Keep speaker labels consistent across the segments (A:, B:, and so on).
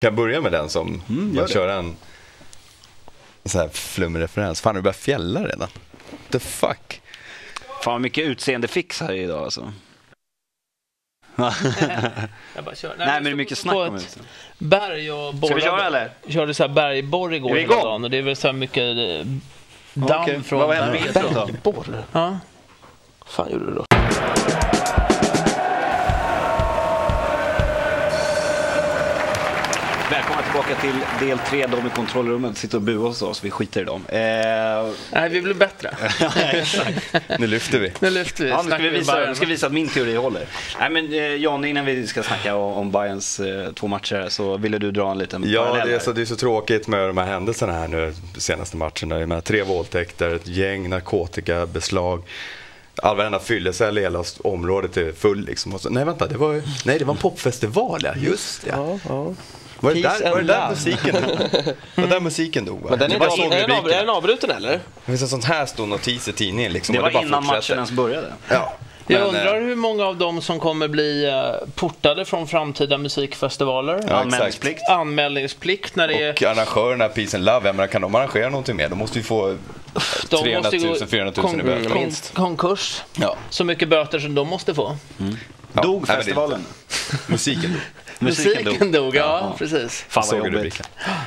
A: Kan jag börja med den som
B: Mm, gör
A: bara
B: det.
A: köra en så här flummig referens? Fan, det börjar fjälla redan. The fuck?
B: Fan vad mycket utseendefix här idag alltså.
C: Jag bara kör.
B: Nej men det
C: jag
B: är mycket
C: stod
B: snack
C: på
B: om
C: ett
B: det.
C: Berg och borrade.
B: Ska vi köra eller?
C: Körde så här bergborr
B: Är
C: igår
B: vi
C: hela
B: igång?
C: dagen och det är väl så här mycket eh, damm
B: Okej,
C: från
B: vad hände med
C: berget
B: vetet
C: då.
B: då?
C: Borr? Ja. Vad fan gjorde du då?
B: Välkomna tillbaka till del tre, de i kontrollrummet sitter och buar hos oss, vi skiter i dem. Eh,
C: Nej, vi blev bättre.
A: Nu lyfter vi.
C: Nu lyfter vi.
B: ja, nu ska
C: Snackar
B: vi, visa,
C: Bayern.
B: nu ska vi visa att min teori håller. Nej men eh, Jan, innan vi ska snacka om, om Bayerns eh, två matcher här, så ville du dra en liten
A: Ja,
B: parallell
A: det är,
B: här.
A: så, det är så tråkigt med de här händelserna här nu, senaste matchen. Där, med tre våldtäkter, ett gäng narkotikabeslag. All varenda fyllecell i hela s- området är full. Liksom. Och så, nej, vänta, det var, ju- nej, det var en popfestival, ja. Just ja.
D: Ja, ja.
A: Var det
D: Peace
A: där, var det
D: and
A: där
D: love.
A: musiken Var det där musiken dog? va?
D: Men den är,
A: Jag bara
D: av,
A: såg
D: är, den av,
A: rubriken.
D: är den avbruten eller?
A: Det finns en sån här stor notis i tidningen. Liksom,
B: det
A: och
B: var
A: bara
B: innan
A: fortsätter.
B: matchen ens började.
A: Ja.
C: Jag
A: men,
C: undrar
A: eh,
C: hur många av dem som kommer bli eh, portade från framtida musikfestivaler.
A: Ja,
B: Anmälningsplikt.
C: Anmälningsplikt när det är...
A: Och arrangörerna, Peace and Love, jag menar, kan de arrangera någonting mer? De måste ju få
C: de
A: 300 000, 400 000 i böter.
C: kon- konkurs.
A: Ja.
C: Så mycket böter som de måste få.
A: Ja,
B: Dog
A: nej, men det-
B: festivalen?
A: Musiken dog.
C: Musiken, dog, ja,
B: Ja.
C: precis.
B: Fan vad
A: Såg du
B: jobbigt.
A: rubriken?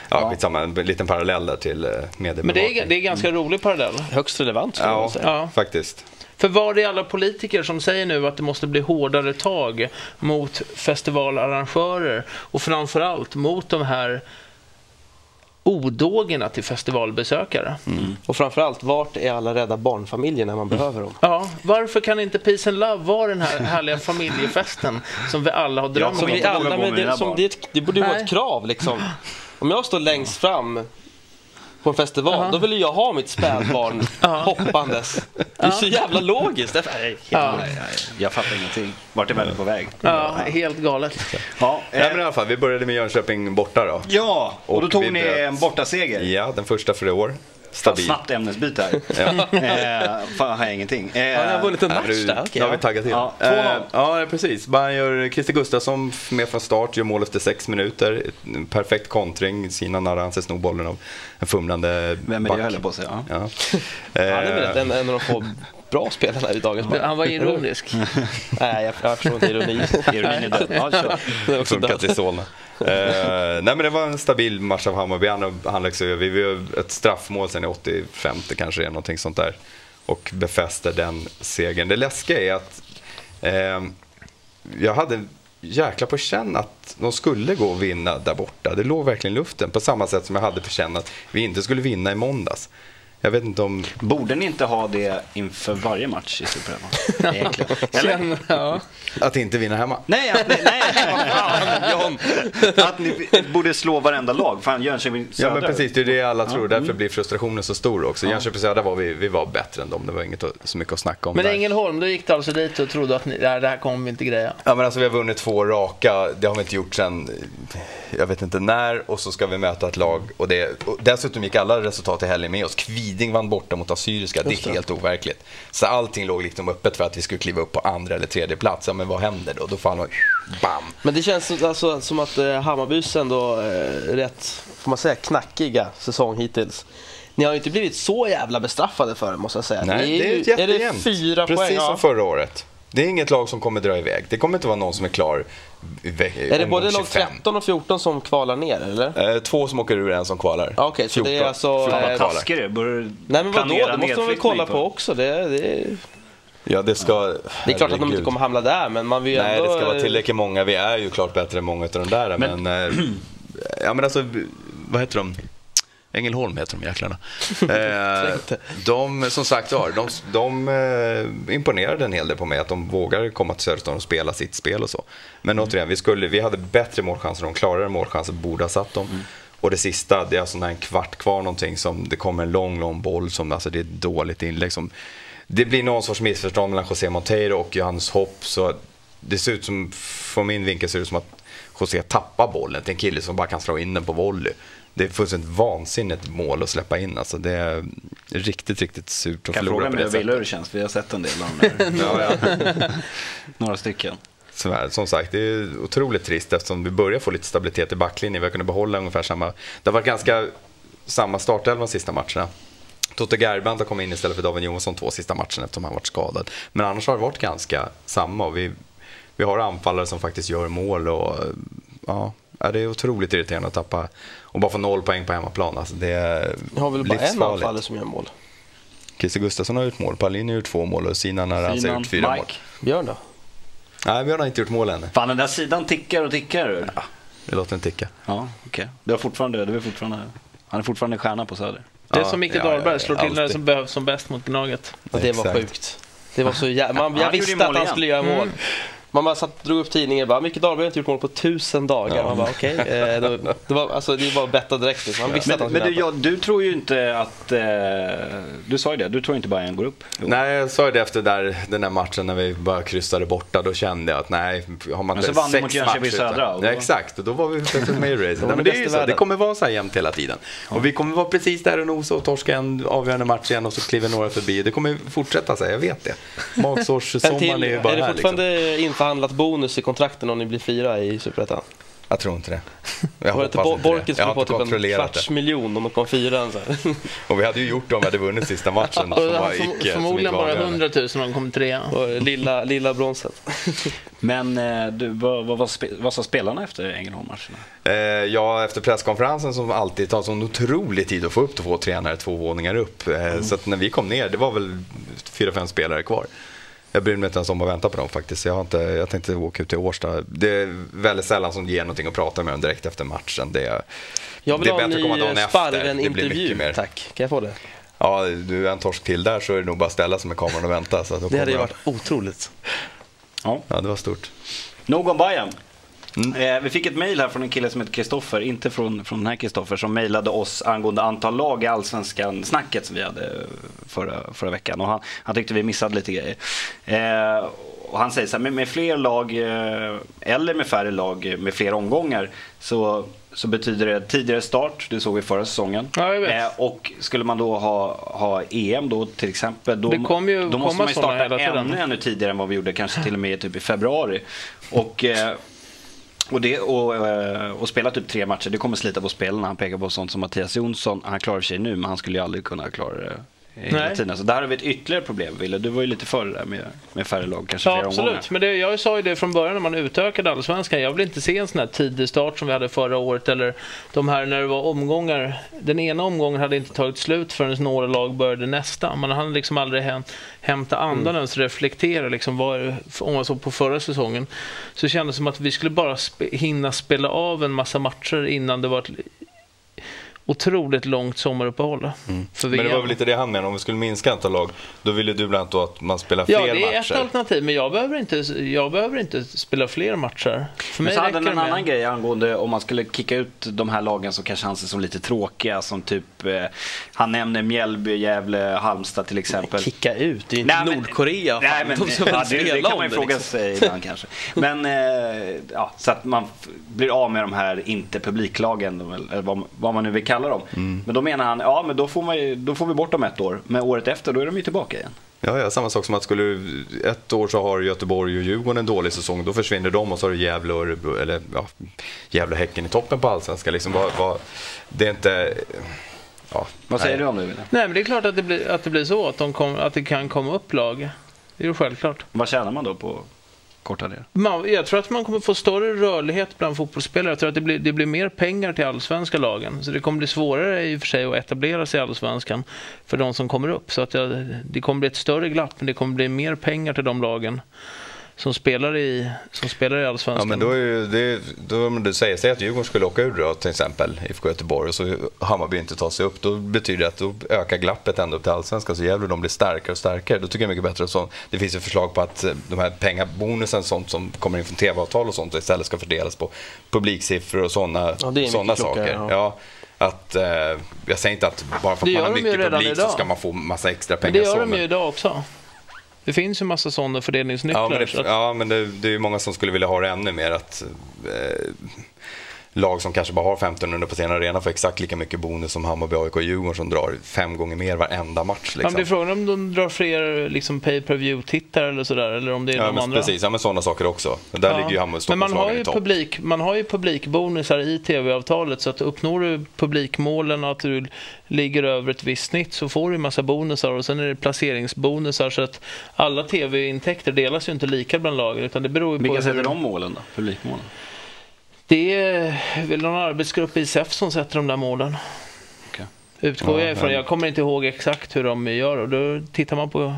A: Ja, skitsamma. En liten parallell där till eh, mediebevakning.
C: Men det Mm. är, det är ganska rolig parallell.
D: Högst relevant skulle man
A: Ja,
D: säga.
C: Ja.
A: faktiskt.
C: För var är alla politiker som säger nu att det måste bli hårdare tag mot festivalarrangörer och framförallt mot de här odågorna till festivalbesökare?
D: Och framförallt, vart är alla rädda barnfamiljer när man
A: Mm.
D: behöver dem?
C: Ja, varför kan inte Peace and Love vara den här härliga familjefesten som vi alla har drömt
B: som
C: om?
B: vi
D: Det,
B: inte
D: är
B: vågar
D: alla,
B: bo med
D: men
B: mina
D: det, som
B: barn.
D: det, är ett- det borde ju vara
C: Nej.
D: ett krav liksom. Om jag står längst fram på en festival, då vill ju jag ha mitt spädbarn hoppandes. Det är så jävla logiskt. Det är-
C: Ja,
B: Nej, nej, Jag fattar ingenting. Vart är världen på väg?
C: ja, helt galet.
B: Ja, eh,
A: Nej, men i alla fall, vi började med Jönköping borta då.
B: ja, och då
A: Och
B: tog
A: vi
B: ni
A: bröt.
B: en bortaseger.
A: Ja, den första för i år.
B: Fan,
A: Stabil.
B: snabbt ämnesbyte här. eh, fan, har jag ingenting. Eh,
D: Ja, ni har vunnit en
A: Ja,
D: match
A: men du-
D: där.
A: Nu har vi taggat till.
B: Ja,
A: Ja,
B: 2-0.
A: ja precis. Man gör Christer Gustafsson f- med från start, gör mål efter sex minuter. En Perfekt kontring. Sina Naranse snor bollen av en fumlande
B: Vem är det
A: back.
B: jag höll på att säga? Ja.
A: Ja.
D: Han är väl
A: Eh,
D: ett- en, en av de få bra spelarna i dagens
C: Men
D: match.
C: Han var ironisk.
D: Nej, jag, jag förstår inte ironi.
B: Ironin är död. Ja, kör.
D: Det är också
A: Funkat
D: död.
A: i Solna. Eh, nej men det var en stabil match av Hammarby. Han, han läggs över. Vi gör ett straffmål sen i 85 kanske, är någonting sånt där. Och befäster den segern. Det läskiga är att eh, jag hade en jäkla på känn att de skulle gå och vinna där borta. Det låg verkligen i luften. På samma sätt som jag hade på känn att vi inte skulle vinna i måndags. Jag vet inte om...
B: Borde ni inte ha det inför varje match i Superettan? Egentligen. Eller?
C: Ja.
A: Att inte vinna hemma.
B: Nej, att ni, nej, vad fan, John. Att ni borde slå varenda lag. Fan, Jönköping Södra.
A: Ja Mm. men precis, det är det alla tror. Därför blir frustrationen så stor också. Jönköping Södra var vi, vi var bättre än dem. Det var inget att- så mycket att snacka om
C: Men
A: där.
C: Ängelholm, då gick du alltså dit och trodde att ni, nej, det här kommer vi inte greja.
A: Ja men alltså vi har vunnit två raka, det har vi inte gjort sen, eh, jag vet inte när, och så ska vi möta ett lag. Och det, och dessutom gick alla resultat i helgen med oss. Kviding vann borta mot Assyriska, det är helt overkligt. Så allting låg liksom öppet för att vi skulle kliva upp på andra eller tredje plats. Ja men vad händer då? Då får man, bam!
D: Men det känns som- alltså, som att eh, Hammarbys ändå eh, rätt, får man säga, knackiga säsong hittills. Ni har ju inte blivit så jävla bestraffade för det måste jag säga. Ni
A: Nej, det är
D: ju-
A: ju jättejämnt.
D: Är det fyra
A: Precis
D: poäng?
A: som
D: Ja.
A: förra året. Det är inget lag som kommer dra iväg. Det kommer inte vara någon som är klar i ve- i
D: Är det
A: omgång
D: både lag
A: 25.
D: 13 och 14 som kvalar ner eller?
A: Eh, Två som åker ur, en som kvalar.
D: Ja, okej, så det är alltså,
A: Fjorton
D: eh,
B: Vad
A: kvalar.
B: taskig du är. Borde
D: Nej men vadå,
B: planera
D: det måste man väl
B: nedflyttning
D: kolla på också. Det, det,
A: Ja, det ska...
D: det är klart att de inte kommer hamna där men man vill ju
A: Nej,
D: ändå...
A: det ska vara
D: eh,
A: tillräckligt många. Vi är ju klart bättre än många av de där. Men, eh, ja, men alltså, vad heter de? Ängelholm heter de jäklarna. Eh, de, som sagt var, de, de eh, imponerade en hel del på mig. Att de vågar komma till Söderstaden och spela sitt spel och så. Men återigen, vi, skulle, vi hade bättre målchanser. De klarare målchanser borde ha satt dem. Och det sista, det är alltså när en kvart kvar någonting som det kommer en lång, lång boll som, alltså det är ett dåligt inlägg som det blir någon sorts missförstånd mellan José Monteiro och Johannes Hopp. Så det ser ut som, från min vinkel ser det ut som att José tappar bollen till en kille som bara kan slå in den på volley. Det är fullständigt vansinnigt mål att släppa in. Alltså det är riktigt, riktigt surt att
B: Kan jag
A: förlora
B: fråga
A: på
B: mig
A: det sättet.
B: hur Villa hur det känns? Vi har sett en del av dem.
A: Ja, ja.
B: Några stycken.
A: Tyvärr, som sagt, det är otroligt trist eftersom vi börjar få lite stabilitet i backlinjen. Vi har kunnat behålla ungefär samma. Det har varit ganska samma startelva de sista matcherna. Toto Gerbrandt har kommit in istället för David Johansson två sista matcherna eftersom han varit skadad. Men annars har det varit ganska samma. och Vi, vi har anfallare som faktiskt gör mål och ja, ja, det är otroligt irriterande att tappa och bara få noll poäng på hemmaplan. Alltså det är
D: Jag har väl bara en
A: livsfarligt.
D: anfallare som gör mål.
A: Christer Gustafsson har gjort mål, Paulin har gjort två mål och Sinan har alltså gjort fyra mål.
B: Mike.
D: Björn då?
A: Nej, vi har inte gjort mål än.
B: Fan, den där sidan tickar och tickar. du. Ja,
A: Vi låter den ticka.
B: okej. Du har fortfarande, du är fortfarande, han är fortfarande stjärna på Söder.
C: Det är
A: Ja,
C: som Micke
A: ja, ja,
C: Dahlberg,
A: ja,
C: slår till när det
A: alltid.
C: som behövs som bäst mot Gnaget.
D: Och det var
A: Exakt.
D: sjukt. Det var så jä... man,
B: Han
D: Jag
B: gjorde ju
D: visste
B: mål
D: att han
B: igen. Mm.
D: skulle göra mål. Man bara satt, drog upp tidningen och bara, Micke Dahlberg har inte gjort mål på tusen dagar. Man bara, okej. eh, då- Det var alltså, det var betta direkt. liksom. Han visste att han
B: Men,
D: skulle
B: men du,
D: göra
B: jag, du tror ju inte att, eh, du sa ju det, du tror inte Bayern går upp.
A: Nej, jag sa ju det efter där, den där matchen när vi bara kryssade borta. Då kände jag att nej, har man
B: Men så
A: inte
B: vann de
A: sex
B: mot Jönköping
A: matcher
B: Södra,
A: utan-
B: och då-
A: Ja, exakt, och då var vi plötsligt med i racet.
D: var
A: Nej, men det,
D: bäst
A: är
D: i
A: ju så, det
D: världen.
A: kommer vara så här jämnt hela tiden. Och vi kommer vara precis där och nosa och torska en avgörande match igen och så kliver några förbi. Det kommer fortsätta så här, jag vet det.
D: En
A: Magsårssommaren
D: till,
A: är ju
D: är,
A: bara
D: det
A: här liksom.
D: fortfarande införhandlat bonus i kontrakten om ni blir fyra i Superettan?
A: Jag tror inte det. Jag
D: Var det inte
A: hoppas
D: Bo-
A: inte det.
D: Borken
A: Jag
D: skulle
A: har
D: få
A: inte
D: typ en
A: kontrollerat det.
D: kvarts miljon om de kom fyran? Så här.
A: Och vi hade ju gjort det om vi hade vunnit sista matchen. som
C: Och
A: bara
C: han
A: gick, eh, som
C: förm-
A: gick
C: förmodligen bara
A: avgörande.
C: 100 000 om de kom trea.
D: Och lilla, lilla bronset.
B: Men eh, du, vad, vad, vad, spe- vad sa spelarna efter Ängelholm-matchen?
A: Eh, ja, efter presskonferensen som alltid tar sån otrolig tid att få upp två tränare två våningar upp. Eh,
D: Mm.
A: Så att när vi kom ner, det var väl fyra, fem spelare kvar. Jag bryr mig inte ens om att vänta på dem faktiskt. Jag, har inte, jag tänkte åka ut till Årsta. Det är väldigt sällan som det ger någonting att prata med dem direkt efter matchen. Det, är-
D: Jag vill
A: det är
D: ha en
A: bättre att komma
D: ny
A: dagen
D: eh,
A: efter. Det blir mycket
D: Sparven-intervju,
A: mer.
D: tack. Kan jag få det?
A: Ja, du en torsk till där så är det nog bara att ställa sig med kameran och vänta. Så att då
D: Det
A: kommer
D: hade ju
A: de.
D: varit otroligt.
B: Ja.
A: Ja, det var stort.
B: Nog om Bayern. Eh, vi fick ett mejl här från en kille som heter Kristoffer, inte från, från den här Kristoffer, som mejlade oss angående antal lag i Allsvenskan, snacket som vi hade eh, förra, förra veckan. Och han, han tyckte vi missade lite grejer. Eh, och han säger så här, med, med fler lag eh, eller med färre lag eh, med fler omgångar så, så betyder det tidigare start, det såg vi förra säsongen. Eh,
C: Ja, jag vet.
B: och skulle man då ha, ha EM då till exempel, då,
C: Det kommer ju
B: då
C: komma
B: måste man ju
C: sådana
B: starta
C: hela tiden.
B: ännu ännu tidigare än vad vi gjorde, kanske till och med typ i februari. Och, eh, och, det, och, eh, och spela typ tre matcher, det kommer slita på spelarna. Han pekar på sånt som Mattias Jonsson, han klarar sig nu men han skulle ju aldrig kunna klara det. Hela
C: Nej.
B: tiden. Så där har vi ett ytterligare problem Wille. Du var ju lite för det där med, med färre lag, kanske
C: Ja,
B: fler omgångar.
C: absolut. Men det, jag sa ju det från början när man utökade allsvenskan. Jag vill inte se en sån här tidig start som vi hade förra året eller de här när det var omgångar. Den ena omgången hade inte tagit slut förrän några lag började nästa. Man hade liksom aldrig häm, hämta andan
A: Mm.
C: ens reflektera. Liksom, vad, om man såg på förra säsongen så kändes det som att vi skulle bara spe, hinna spela av en massa matcher innan det var ett otroligt långt sommaruppehåll. För
A: Mm. Men det
C: VM.
A: var väl lite det han menade, om vi skulle minska antal lag, då ville du bland annat då att man spelar fler
C: Ja,
A: matcher.
C: det är ett alternativ, men jag behöver inte, jag behöver inte spela fler matcher. För
B: Men
C: mig
B: så hade
C: räcker
B: han
C: det
B: en
C: med
B: annan grej angående om man skulle kicka ut de här lagen som kanske anses som lite tråkiga. Som typ, eh, han nämner Mjällby, Gävle, Halmstad till exempel.
D: Kicka ut, det är ju inte
B: Nej, men-
D: Nordkorea. Fan,
B: Nej, men,
D: de ska väl
B: ja, det,
D: spela
B: det kan
D: om
B: man ju
D: det,
B: fråga
D: liksom.
B: sig ibland kanske. Men eh, ja, så att man f- blir av med de här inte publiklagen, de- eller vad, vad man nu vill kalla dem. Men då menar han, ja men då får, man ju, då får vi bort dem ett år. Men året efter, då är de ju tillbaka igen.
A: Ja, ja, samma sak som att skulle ett år så har Göteborg och Djurgården en dålig säsong, då försvinner de och så har du Gävle och Örebro, eller ja, Gävle och Häcken i toppen på allsvenskan. Liksom, vad, vad, det är inte... Ja,
B: Vad säger
A: nej.
B: du om det Wille?
C: Nej, men det är klart att det blir, att det blir så, att, de kom, att det kan komma upp lag. Det är ju självklart.
B: Vad tjänar man då på att korta ner?
C: Man, jag tror att man kommer få större rörlighet bland fotbollsspelare. Jag tror att det blir, det blir mer pengar till allsvenska lagen. Så det kommer bli svårare i och för sig att etablera sig i allsvenskan för de som kommer upp. Så att jag, det kommer bli ett större glapp, men det kommer bli mer pengar till de lagen som spelar i, som spelar i
A: Ja,
C: allsvenskan.
A: men då är ju, det, är- då, om du säger, säg att Djurgården skulle åka ur då, till exempel, IFK Göteborg, och så Hammarby inte tar sig upp, då betyder det att då ökar glappet ända upp till allsvenskan, så Gävle de blir starkare och starkare. Då tycker jag mycket bättre att sånt. Det finns ju förslag på att eh, de här pengabonusen, sånt som kommer in från tv-avtal och sånt, istället ska fördelas på publiksiffror och sådana
D: Ja, det är mycket
A: såna
D: klokare,
A: saker.
D: ja.
A: Ja, att, eh, jag säger inte att bara för
C: Det
A: att man
C: gör
A: har
C: de ju
A: mycket
C: redan
A: publik så
C: idag.
A: ska man få massa extra pengar.
C: Men det gör
A: så,
C: de
A: men-
C: ju idag också. Det finns ju massa sådana fördelningsnycklar.
A: Ja, men,
C: så
A: det,
C: att-
A: ja, men det, det är ju många som skulle vilja ha det ännu mer. Att, eh, lag som kanske bara har 1500 på sin arena får exakt lika mycket bonus som Hammarby, AIK och Djurgården som drar fem gånger mer varenda match.
C: Ja, men
A: Liksom.
C: det är frågan om de drar fler liksom, pay per view tittare eller sådär, eller om det är
A: Ja,
C: de
A: men
C: andra.
A: precis, ja, men sådana saker också. Där
C: Ja.
A: ligger ju Hammarby
C: Men man har
A: Stockholmslagen
C: ju,
A: i topp.
C: publik, man har ju publikbonusar i tv-avtalet så att uppnår du publikmålen och att du ligger över ett visst snitt så får du en massa bonusar och sen är det placeringsbonusar så att alla tv-intäkter delas ju inte lika bland lagen utan det beror ju
B: Vilka
C: på
B: sätter de målen då? Publikmålen?
C: Det är väl någon arbetsgrupp i SEF som sätter de där målen.
B: Okej.
C: Utgår
A: Ja,
C: jag ifrån.
A: men-
C: Jag kommer inte ihåg exakt hur de gör och då tittar man på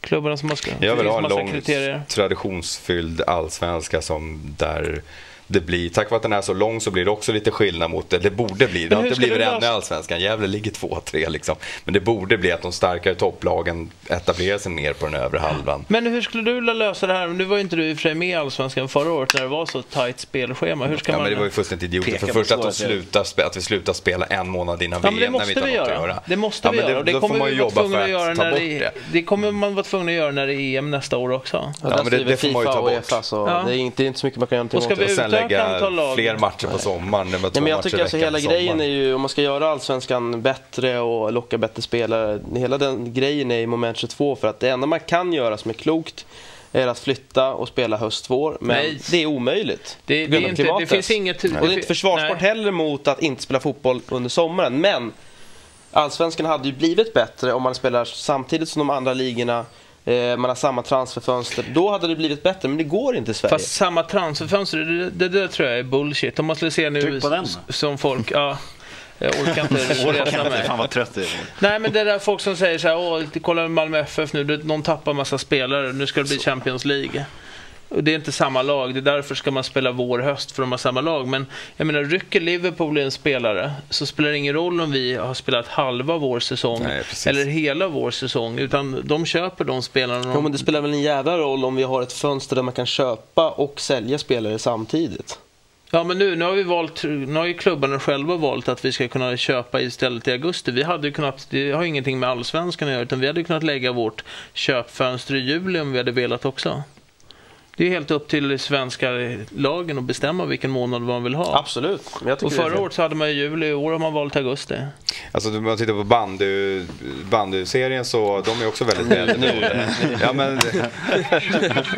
C: klubbarna som har ska.
A: Jag vill
C: det
A: ha
C: finns
A: en
C: massa
A: lång
C: kriterier.
A: traditionsfylld allsvenska som där det blir, tack vare att den är så lång så blir det också lite skillnad mot det. Det borde bli, det har
C: hur
A: inte
C: ska
A: blivit
C: du
A: det ännu i
C: lösa-
A: allsvenskan. Gävle ligger två, tre liksom. Men det borde bli att de starkare topplagen etablerar sig mer på den övre halvan.
C: Men hur skulle du vilja lösa det här? Nu var ju inte du i och för sig med i Allsvenskan förra året när det var så tajt spelschema. Hur ska
A: Ja,
C: man...
A: men det var ju fullständigt idiotiskt. För
B: Peka på
A: det första att, de
B: svårigheter.
A: slutar, spe- att vi slutar spela en månad innan
C: Ja, men det
A: VM när vi
C: måste
A: inte har
C: vi
A: något
C: göra.
A: att göra.
C: Det måste
A: Ja,
C: vi
A: men
C: göra. och Det
A: då får
C: kommer
A: man
C: vi
A: ju
C: vara
A: jobba
C: tvungna
A: för
C: att göra
A: att ta
C: när
A: bort
C: det, är-
A: det.
C: det kommer man vara tvungen att göra när det är EM nästa år också.
D: Ja,
A: men
D: där
A: det-
D: skriver
A: det får man ju
D: Alltså, FIFA
A: ta
D: och
A: bort.
D: Uefa, så
C: Ja.
D: det är inte, det är inte så mycket man kan göra någonting
C: Och ska
D: åt.
C: vi
A: Och sen
C: utöka antal
A: lägga
C: lag?
A: fler matcher på sommaren. Det var två
D: Nej, men jag
A: matcher
D: tycker
A: i
D: alltså
A: veckan
D: hela
A: på sommaren.
D: grejen är ju, om man ska göra allsvenskan bättre och locka bättre spelare, hela den grejen är i moment 22 för att det enda man kan göra som är klokt är att flytta och spela höst-vår, men
C: Nej.
D: det är omöjligt.
C: Det,
D: på
C: det,
D: grund
C: är
D: av
C: inte, det
D: klimatet.
C: finns inget...
D: Och det är inte försvarsbart
C: Nej.
D: heller mot att inte spela fotboll under sommaren, men allsvenskan hade ju blivit bättre om man spelar samtidigt som de andra ligorna, eh, man har samma transferfönster, då hade det blivit bättre, men det går inte i Sverige.
C: Fast samma transferfönster, det, det där tror jag är bullshit. Om man skulle se nu
B: Tryck på den.
C: s- som folk... Ja, jag orkar inte
B: Jag
C: räkna
B: kan inte,
C: med.
B: fan vad trött det är.
C: Nej men det där folk som säger så här, åh kolla Malmö FF nu, du- någon tappar massa spelare, nu ska det bli Champions League. Och det är inte samma lag, det är därför ska man spela vår, höst för de har samma lag. Men jag menar, rycker Liverpool en spelare så spelar det ingen roll om vi har spelat halva vår säsong
A: Nej, precis.
C: eller hela vår säsong. Utan de köper de spelarna. de-
D: Ja, men det spelar väl en jävla roll om vi har ett fönster där man kan köpa och sälja spelare samtidigt.
C: Ja men nu, nu har vi valt, nu har ju klubbarna själva valt att vi ska kunna köpa istället i augusti. Vi hade ju kunnat, det har ju ingenting med allsvenskan att göra utan vi hade kunnat lägga vårt köpfönster i juli om vi hade velat också. Det är ju helt upp till svenska lagen att bestämma vilken månad man vill ha.
D: Absolut. Men jag tycker
C: Och
D: det är
C: förra
D: fel.
C: året så hade man ju juli, i år har man valt augusti.
A: Alltså om man tittar på bandy, bandyserien så de är också väldigt
D: Mm,
A: välbetonade. Ja men,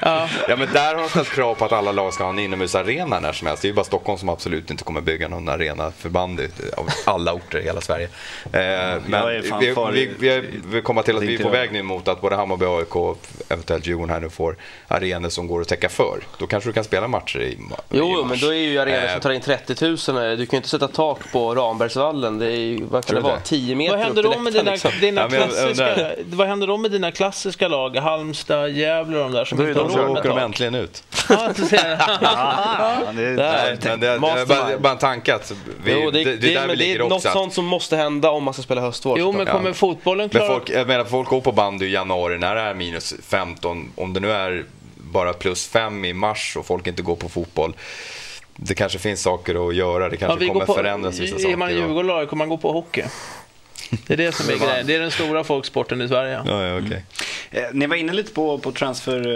C: Ja.
A: ja men där har de ställt krav på att alla lag ska ha en inomhusarena när som helst. Det är ju bara Stockholm som absolut inte kommer bygga någon arena för bandy av alla orter i hela Sverige. Eh,
B: Jag
A: men
B: är fan
A: vi,
B: för-
A: vi, vi, vi kommer till att vi är på
B: Tänkte jag.
A: väg nu mot att både Hammarby, AIK och eventuellt Djurgården här nu får arenor som går att täcka för. Då kanske du kan spela matcher i, ma- i
D: Jo,
A: mars. Eh,
D: men då är ju arenor som tar in 30 000. Du kan ju inte sätta tak på Rambergsvallen. Det är ju, vad kan
A: Tror
D: det
A: du
D: vara,
A: det?
D: 10 meter
C: Vad händer,
D: upp
C: då
D: till
C: med
D: läktaren,
C: dina,
D: liksom.
A: Ja,
C: dina
A: men jag
C: klassiska,
A: undrar.
C: vad händer då med dina klassiska lag? Halmstad, Gävle och de där som
D: Då är
C: inte har
D: de
A: Så
D: som
C: råd med
A: åker de
C: tak?
A: äntligen ut.
C: Ja, du ser.
B: Ja, det
A: Nej,
B: är-
A: men det, det är bara,
D: Mastermind.
A: bara en tanke att vi,
D: Jo,
A: det, det är där vi
D: men det
A: ligger
D: är något
A: också. att-
D: sånt som måste hända om man ska spela höstvår.
C: Jo men
A: Ja.
C: kommer fotbollen
A: Men
C: klara
A: folk, jag menar, folk går på bandy i januari när det är minus 15. Om det nu är bara plus 5 i mars och folk inte går på fotboll. Det kanske finns saker att göra. Det kanske kommer förändras vissa saker.
C: Är man
A: va?
C: Djurgården eller AIK, man går på hockey. Det är det som är grejen. Det är den stora folksporten i Sverige.
A: Ja, ja, okej.
B: Eh, Ni var inne lite på, på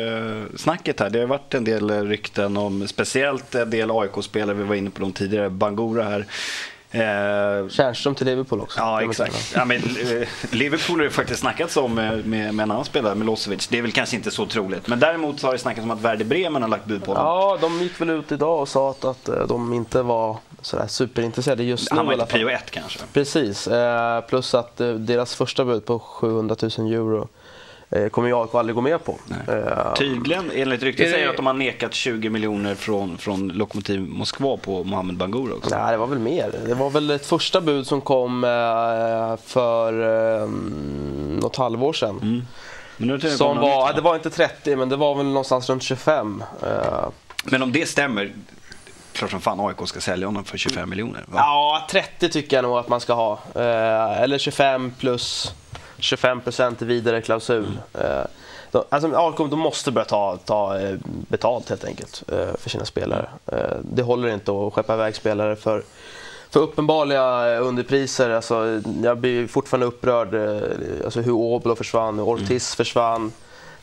B: transfersnacket här. Det har ju varit en del eh, rykten om speciellt en del AIK-spelare. Vi var inne på dem tidigare. Bangura här. Eh,
D: Kärnström till Liverpool också. kan
B: Ja,
D: man
B: exakt.
D: säga.
B: Ja, men, eh, Liverpool har ju faktiskt snackats om eh, med, med en annan spelare, Milosevic. Det är väl kanske inte så troligt. Men däremot så har det snackats om att Werder Bremen har lagt bud på honom.
D: Ja, de gick väl ut idag och sa att, att eh, de inte var sådär superintresserade just nu
B: Han var
D: i alla
B: inte
D: fall.
B: prio ett kanske.
D: Precis, eh, plus att eh, deras första bud på 700 000 euro eh, kommer ju AIK aldrig gå med på. Eh,
B: Tydligen, enligt
C: Är
B: ryktet,
C: det-
B: säger att de har nekat 20 miljoner från, från Lokomotiv Moskva på Mohamed Bangura också.
D: Nej, det var väl mer. Det var väl ett första bud som kom eh, för eh, något halvår sedan.
B: Men, nu tror jag
D: Som
B: Mm. det kommer något
D: var,
B: nytt.
D: det var inte 30, men det var väl någonstans runt 25. Eh,
B: men om det stämmer, klart som fan AIK ska sälja honom för 25 miljoner. va?
D: Ja, 30 tycker jag nog att man ska ha. Eh, eller 25 plus 25 procent i vidare klausul. Eh, de, alltså AIK de måste börja ta, ta eh, betalt helt enkelt eh, för sina spelare. Eh, det håller inte att skeppa iväg spelare för, för uppenbarliga eh, underpriser. Alltså, jag blir fortfarande upprörd eh, alltså hur
B: Mm.
D: Oblo försvann, hur Ortiz försvann.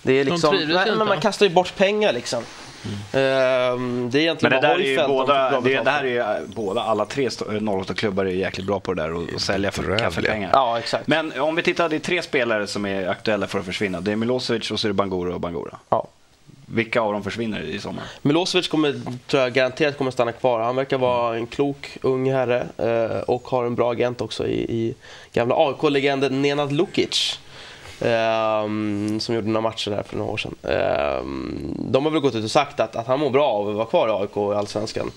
D: Det är liksom,
C: trivdes
D: nej, men
C: inte.
D: man kastar ju bort pengar liksom. Ehm, det är
B: Mm. Men
D: egentligen
B: det,
D: bara
B: där är ju
D: Hojfeldt de fick
B: båda,
D: bra
B: det,
D: betalt
B: det
D: för.
B: här är ju eh, båda, alla tre sto- eh, Norrbottensklubbar är jäkligt bra på det där och, och sälja för
A: Bedrövliga.
B: kaffepengar.
D: Ja, exakt.
B: Men om vi tittar, det är tre spelare som är aktuella för att försvinna. Det är Milosevic och så är det Bangura och Bangura.
D: Ja.
B: Vilka av dem försvinner i sommar?
D: Milosevic kommer, tror jag garanterat kommer stanna kvar. Han verkar vara en klok ung herre eh, och har en bra agent också i, i gamla AIK-legenden Nenad Lukic. ehm, som gjorde några matcher där för några år sedan. Ehm, de har väl gått ut och sagt att, att han mår bra av att vara kvar i AIK och i Allsvenskan. I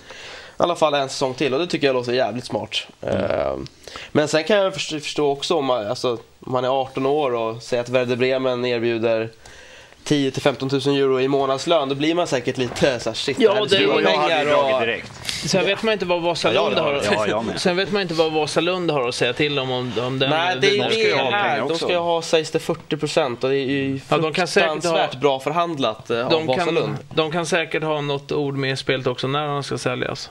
D: alla fall en säsong till och det tycker jag låter jävligt smart. Ehm, men sen kan jag förstå, förstå också om man, alltså, om man är 18 år och säger att Werder Bremen erbjuder 10 till 15 000 euro i månadslön, då blir man säkert lite såhär shit,
C: Ja,
D: här är
C: det-
B: Du
D: stora
B: och jag hade
D: pengar
B: ju dragit
D: och-
B: direkt.
C: Sen vet man inte vad Vasalund
B: Ja,
C: har,
B: ja, ja, jag med.
C: Sen vet man inte vad Vasalund har att säga till om. om, om den,
D: Nej, det är
C: den-
B: de
D: ju
B: ska ju
D: det
B: ha pengar
D: här. De
B: också.
D: ska ju ha, sägs det, 40 procent och det är ju
C: Ja, de kan säkert ha-
D: fruktansvärt bra förhandlat eh, av
C: de,
D: Vasalund.
C: kan, de kan säkert ha något ord med i spelet också när han ska säljas.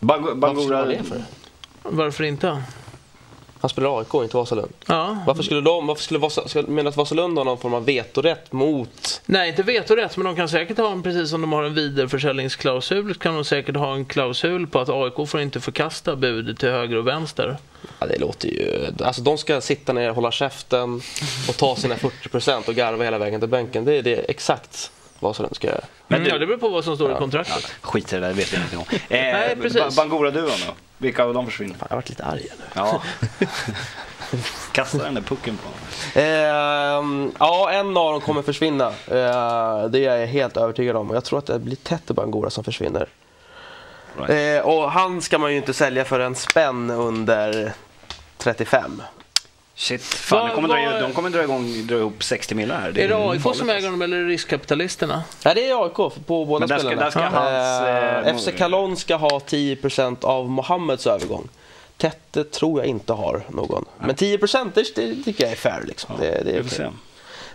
B: Bang-
D: Varför skulle
B: Bangura,
D: man det för?
C: Varför inte?
D: Han spelar AIK, inte Vasalund.
C: Ja.
D: Varför skulle de, varför skulle Vasa, ska, menar att Vasalund har någon form av vetorätt mot...
C: Nej, inte vetorätt, men de kan säkert ha en, precis som de har en vidareförsäljningsklausul, kan de säkert ha en klausul på att AIK får inte förkasta bud till höger och vänster.
D: Ja, det låter ju... Alltså de ska sitta ner, hålla käften och ta sina 40 procent och garva hela vägen till bänken. Det är det exakt Vasalund ska göra.
B: Men
C: Men
B: du-
C: Mm, ja, det beror på vad som står i kontraktet.
B: Skit i det där, det vet jag ingenting om. Eh,
C: Nej, precis.
B: Ba- Bangura-duon då? Vilka av dem försvinner?
D: Fan, jag varit lite arg nu.
B: Ja. Kasta den där pucken på honom.
D: Ehm, ja, en av dem kommer försvinna. Eh, det är jag helt övertygad om. Och Jag tror att det blir Tete Bangura som försvinner. Eh, och han ska man ju inte sälja för en spänn under 35.
B: Shit, fan,
C: Vad-
B: de kommer, dra,
C: vad-
B: de kommer dra, igång, dra ihop 60 miljoner här.
C: Är det AIK
B: farligt,
C: som äger dem eller är det riskkapitalisterna?
D: Nej, det är AIK på båda
B: Men där ska-
D: spelarna.
B: där ska hans,
D: Eh,
B: eh,
D: FC Kalon ska ha 10% av Mohammeds övergång. Tete tror jag inte har någon. Men 10% det, det tycker jag är fair. Liksom.
B: Ja,
D: det, det är
B: vi får se.
D: okej.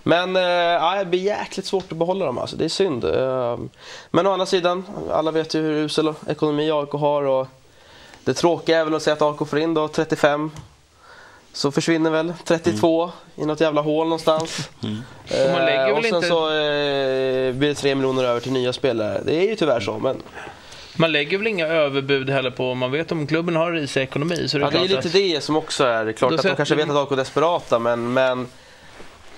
D: Men eh, ja, det blir jäkligt svårt att behålla dem alltså. Det är synd. Eh, men å andra sidan, alla vet ju hur usel ekonomi AIK har. Och det tråkiga är väl att säga att AIK får in då 35. Så försvinner väl 32 i något jävla hål någonstans.
C: Och man lägger
D: Eh,
C: väl
D: och sen
C: inte-
D: så eh, blir det 3 miljoner över till nya spelare. Det är ju tyvärr så. Men
C: Man lägger väl inga överbud heller på om man vet om klubben har risig ekonomi. Så det är
D: ja, det är
C: klart
D: lite
C: att-
D: det som också är klart.
C: Då
D: Att de kanske
C: sätter-
D: vet att AIK är desperata. Men, men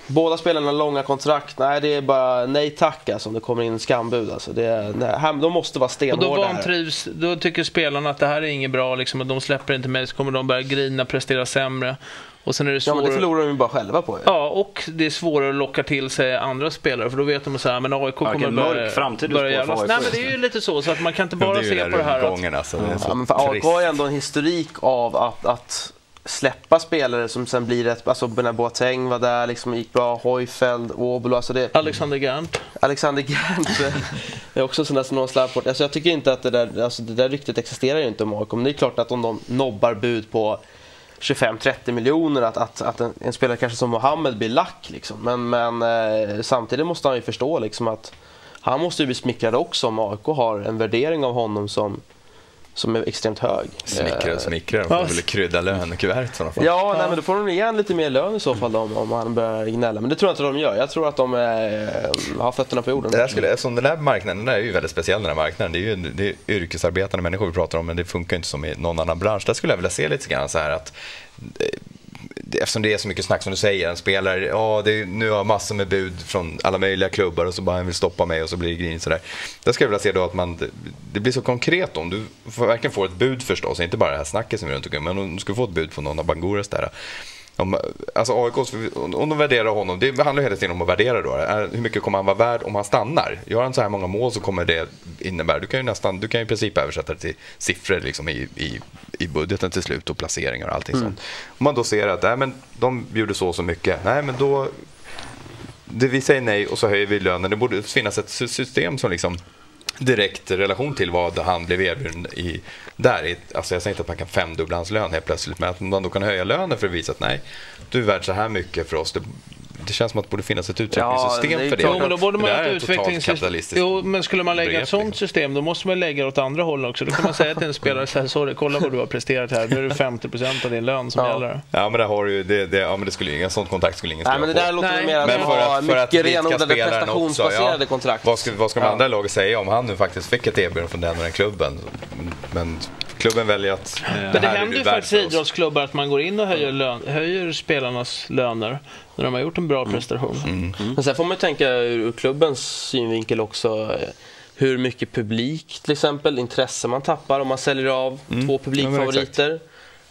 D: båda spelarna har långa kontrakt. Nej, det är bara nej tack alltså, om det kommer in skambud. Alltså. Det är, nej, här- de måste vara
C: Och då
D: stenhårda. här.
C: vantrivs, då tycker spelarna att det här är inget bra liksom, och de släpper inte mig så kommer de börja grina, prestera sämre. Och sen är det
D: Ja, men det
C: svårare. Ja,
D: förlorar de ju bara själva på. ju.
C: och det är svårare att locka till sig andra spelare för då vet de så här, men AIK kommer
B: vilken mörk framtid du
C: börja
B: spår för
C: jävlas.
B: AIK
C: Nej men
B: just
C: det är ju lite så, så att man kan inte
A: Det
C: bara
A: är ju
C: se
A: den
C: på det här att
A: rundgången alltså. Det är så
D: Ja, men för AIK
A: trist.
D: har ju ändå en historik av att, att släppa spelare som sen blir rätt... Alltså Benar Boateng var där, liksom gick bra. Hojfeldt, Obolo. Alltså det,
C: Alexander Gerndt.
D: Alexander Gernt är också en sån där som någon slarvar bort. Alltså jag tycker inte att det där, alltså det där ryktet existerar ju inte om AIK. Men det är klart att om de nobbar bud på 25-30 miljoner att, att, att en, en spelare kanske som Mohammed blir lack. Liksom. Men, men eh, samtidigt måste han ju förstå liksom, att han måste ju bli smickrad också om AIK har en värdering av honom som, som är extremt hög.
A: Smickrar och
D: Eh,
A: smickrar. De
C: Ja.
A: får väl krydda lönekuvertet i sådana fall.
D: Ja, nej, men då får de igen lite mer lön i så fall om, om han börjar gnälla. Men det tror jag inte de gör. Jag tror att de eh, har fötterna på jorden.
A: Det där skulle, eftersom den där marknaden den där är ju väldigt speciell. Den här marknaden. Det är ju det är yrkesarbetande människor vi pratar om, men det funkar ju inte som i någon annan bransch. Där skulle jag vilja se lite grann så här att eh, det- Eftersom det är så mycket snack som du säger, en spelare, ja det är, nu har jag massor med bud från alla möjliga klubbar och så bara han vill stoppa mig och så blir det grinigt sådär. Där skulle jag vilja se då att man, det- det blir så konkret om du får, verkligen får ett bud förstås, inte bara det här snacket som är runt omkring, men om du skulle få ett bud från någon av Banguras där. Om, alltså AIKs, om de värderar honom, det handlar ju hela tiden om att värdera då. Är- Hur mycket kommer han vara värd om han stannar? Gör han så här många mål så kommer det innebära, du kan ju nästan, du kan ju i princip översätta det till siffror liksom i, i, i budgeten till slut och placeringar och allting sånt. Om man då ser att, nej men de bjuder så och så mycket, nej men då, det, vi säger nej och så höjer vi lönen. Det borde finnas ett sy- system som liksom direkt relation till vad han blev erbjuden i, där. i- Alltså jag säger inte att man kan femdubbla hans lön helt plötsligt, men att man då kan höja lönen för att visa att nej, du är värd så här mycket för oss. Det, det känns som att det borde finnas ett
D: Ja,
A: utvecklingssystem
D: det är
A: för det.
D: klart.
C: Jo, men då borde
A: det
C: man
A: där
C: ha
A: är
C: ett
A: totalt
C: utvecklingssystem.
A: kapitalistiskt.
C: Jo, men skulle man lägga
A: begrepp,
C: ett sånt
A: liksom.
C: system, då måste man lägga det åt andra hållet också. Då kan man säga till en spelare så här, sorry, kolla vad du har presterat här. Nu är det 50% av din lön som
D: Ja.
C: gäller.
A: Ja, men det har du ju, det, det, ja, men det skulle, en sån kontrakt skulle ingen skriva
D: Nej, men det
A: på.
D: där låter
C: Nej.
D: väl mer att
A: Men
D: de
A: för att-
D: har
A: för att
D: mycket
A: blidka
D: renodlade
A: spelaren också, ja.
D: prestationsbaserade kontrakt.
A: Vad ska, vad ska de
D: Ja.
A: andra lagen säga om han nu faktiskt fick ett erbjudande från den och den klubben? Men klubben väljer att det
C: Men det
A: här är
C: händer
A: du
C: ju
A: värd
C: faktiskt i
A: för oss.
C: idrottsklubbar att man går in och höjer, lön, höjer spelarnas löner när de har gjort en bra prestation.
A: Mm.
D: Men sen får man ju tänka ur ur klubbens synvinkel också. eh, Hur mycket publik till exempel, intresse man tappar om man säljer av
A: Mm.
D: två publikfavoriter.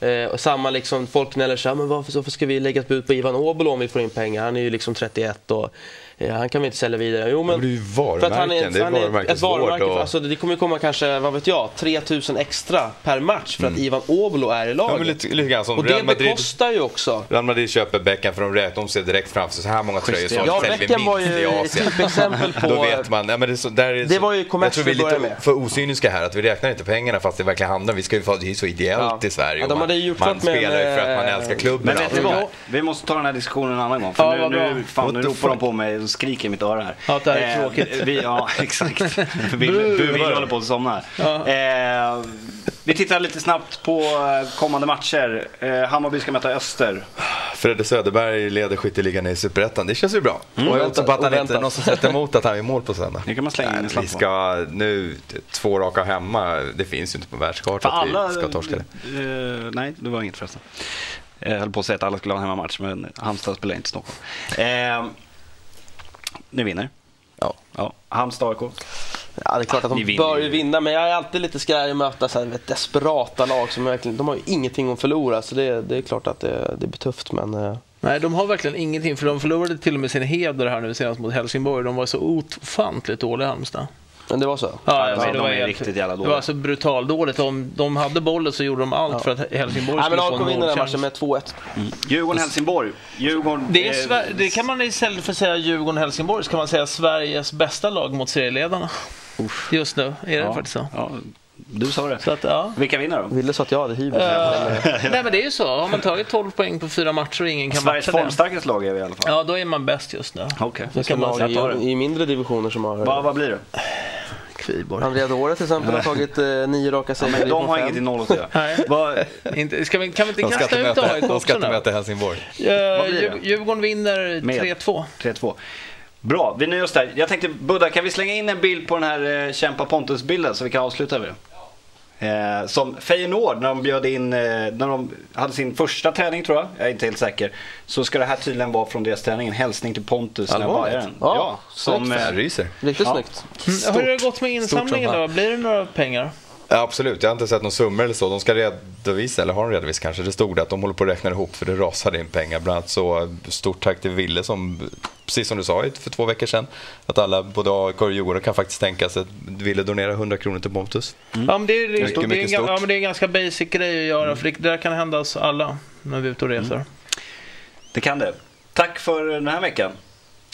D: eh, och samma liksom, folk gnäller så här, men varför, varför ska vi lägga ett bud på Ivan Obolo om vi får in pengar? Han är ju liksom 31 och eh, han kan vi inte sälja vidare. Jo, men,
A: Men det är ju
D: för att han är,
A: varumärken,
D: ett-
A: det är
D: han är ett
A: varumärkesvård
D: varumärke. För,
A: och...
D: alltså, det kommer ju komma kanske, vad vet jag, 3000 extra per match för att Ivan Obolo är i
A: Mm. Ja,
D: laget.
A: men lite, lite grann som
D: och
A: Real
D: det
A: Madrid,
D: bekostar ju också.
A: Real Madrid köper Beckham för de räknar, de ser direkt framför sig, så här många tröjor sålda
D: Ja,
A: säljer vi
D: Beckham var
A: minst
D: ju
A: i
D: ett
A: Asien.
D: typexempel på...
A: Då vet man. Ja, men det, är så, där är
D: Det
A: så-
D: var ju kommers
A: Jag tror vi är
D: till att
A: lite
D: börja med.
A: för osyniska här, att vi räknar inte pengarna fast det verkligen handlar om. Vi ska ju, det är ju så ideellt
D: Ja.
A: i Sverige.
D: Ja, de
A: och man
D: hade ju gjort
A: man
D: klart med en,
A: spelar ju för att man
D: eh,
A: älskar klubben.
B: Men
A: och
B: vet
A: allt det
B: ni
A: där.
B: vad? Vi måste ta den här diskussionen en annan gång.
C: Ja,
B: För
C: vad
B: nu,
C: bra.
B: nu, fan, nu
A: What the
B: ropar de
A: fuck?
B: på mig och skriker i mitt öra här.
C: Ja, det här är
B: Eh,
C: tråkigt.
B: Vi, ja, exakt. Bill,
A: Bu.
B: Bill håller på att somna här. Eh, vi tittar lite snabbt på eh, kommande matcher. Eh, Hammarby ska möta Öster.
A: Fredde Söderberg leder skytteligan i Superettan. Det känns ju bra.
B: Mm.
A: och jag
D: Oväntat,
A: hoppas på att han inte
D: oväntat.
A: någon som sätter emot att han är i mål på söndag.
B: Nu kan man slänga in en
A: Nej, vi
B: slapp på.
A: ska nu, två raka hemma, det finns ju inte på
B: För
A: världskartan att
B: alla...
A: vi ska torska det.
B: Eh, nej, det var inget förresten. Eh, Jag höll på att säga att alla skulle ha en hemmamatch, men Halmstad spelar inte i Stockholm. Eh, ni vinner.
A: Ja.
B: Ja, Halmstad AIK.
D: Ja, det är klart att
B: Ni
D: de
B: vinner
D: bör ju
B: ju.
D: vinna, men jag är alltid lite skraj att möta så här, vet, desperata lag som verkligen, de har ju ingenting att förlora, så det, det är klart att det, det blir tufft. Men, eh,
C: Nej, de har verkligen ingenting, för de förlorade till och med sin heder här nu senast mot Helsingborg. De var så ofantligt dåliga, Halmstad.
D: men det var så.
C: Ja,
B: alltså,
C: men
B: de är
C: helt-
B: riktigt jävla
C: Det
B: dåliga.
C: var alltså brutaldåligt. Om de hade bollen så gjorde de allt för att Helsingborg
D: Nej, men
C: skulle
D: AIK
C: få en
D: vinner den här
C: målchans.
D: matchen med 2-1.
B: Djurgården-Helsingborg. Djurgården,
C: Det, är
B: eh,
C: Sver- det kan man istället för att säga Djurgården-Helsingborg så kan man säga Sveriges bästa lag mot serieledarna. Just nu är det
B: ja,
C: faktiskt så.
B: Ja, du sa det.
C: så att, ja.
B: Vilka vinner då?
D: Ville sa att jag hade hybris.
C: Nej men det är ju så. Har man tagit 12 poäng på fyra matcher och ingen kan
B: Sveriges
C: matcha det.
B: formstarkaste lag är vi i alla fall.
C: Ja, då är man bäst just nu.
B: Okej.
C: Så kan man
D: lag
C: säga.
B: ta det.
D: i, I mindre divisioner som
B: Vad,
D: har...
B: vad blir det?
C: Kviborg.
D: Andrea Dore till exempel har tagit eh, nio raka segrar i
B: De
D: division
B: har
D: fem.
B: inget i noll att göra.
C: Nej.
B: Vad-
C: Inte, ska vi, kan vi inte
A: De ska
C: kasta
A: inte
C: ut
A: möta,
C: AIK
A: de ska
C: också
A: inte
C: nu?
A: möta Helsingborg.
C: Eh,
B: Vad blir det?
C: Djur- Djurgården vinner
B: Med.
C: 3-2.
B: 3-2. Bra, vi nöjer oss där. Jag tänkte, Buddha, kan vi slänga in en bild på den här eh, Kämpa Pontus-bilden så vi kan avsluta med det? Eh, som Feyenoord, när de bjöd in, eh, när de hade sin första träning tror jag, jag är inte helt säker, så ska det här tydligen vara från deras träning, en hälsning till Pontus när
A: Allvarligt?
B: Bajaren.
D: Ja,
B: som,
D: snyggt.
A: Jag
B: eh,
A: ryser.
D: Riktigt
B: Ja.
D: snyggt.
C: Mm, hur har det gått med insamlingen
A: fan.
C: då? Blir det några pengar?
A: Ja, absolut, jag har inte sett någon summa eller så. De ska redovisa, eller har de redovisat kanske? Det stod det att de håller på att räkna ihop för det rasade in pengar. Bland annat så stort tack till Ville som, precis som du sa för två veckor sedan, att alla, både AIK och Djurgården kan faktiskt tänka sig att Ville donera 100 kronor till Pontus.
B: Mm.
C: Ja, men det är, det, är,
A: Mycket,
C: det, är,
A: mycket
C: en ga-
A: stort.
C: ja, men det är en ganska basic grej att göra, för det, det där kan hända oss alla när vi är ute
B: Mm.
C: och reser.
B: det kan det. Tack för den här veckan.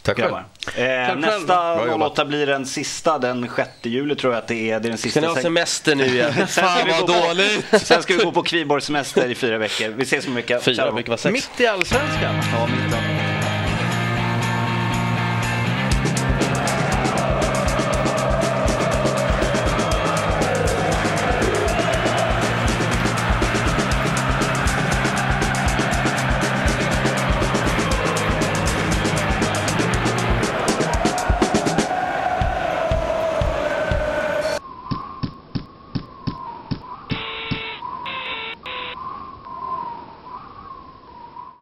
A: Tack själv.
B: grabbar. Eh,
C: själv.
A: Bra
B: nästa
A: jobbat.
B: 08 blir den sista, den 6 juli tror jag att det är. Det är den
D: Ska
B: sista
D: ni ha
B: säng-
D: semester nu igen? Fan
B: vi gå
D: vad
B: på-
D: dåligt!
B: Sen ska vi gå på Kviborgs semester i fyra veckor. Vi ses om en vecka. Ciao.
D: Fyra brukar vara sex.
C: Mitt i Allsvenskan.
B: Ja, mitt i-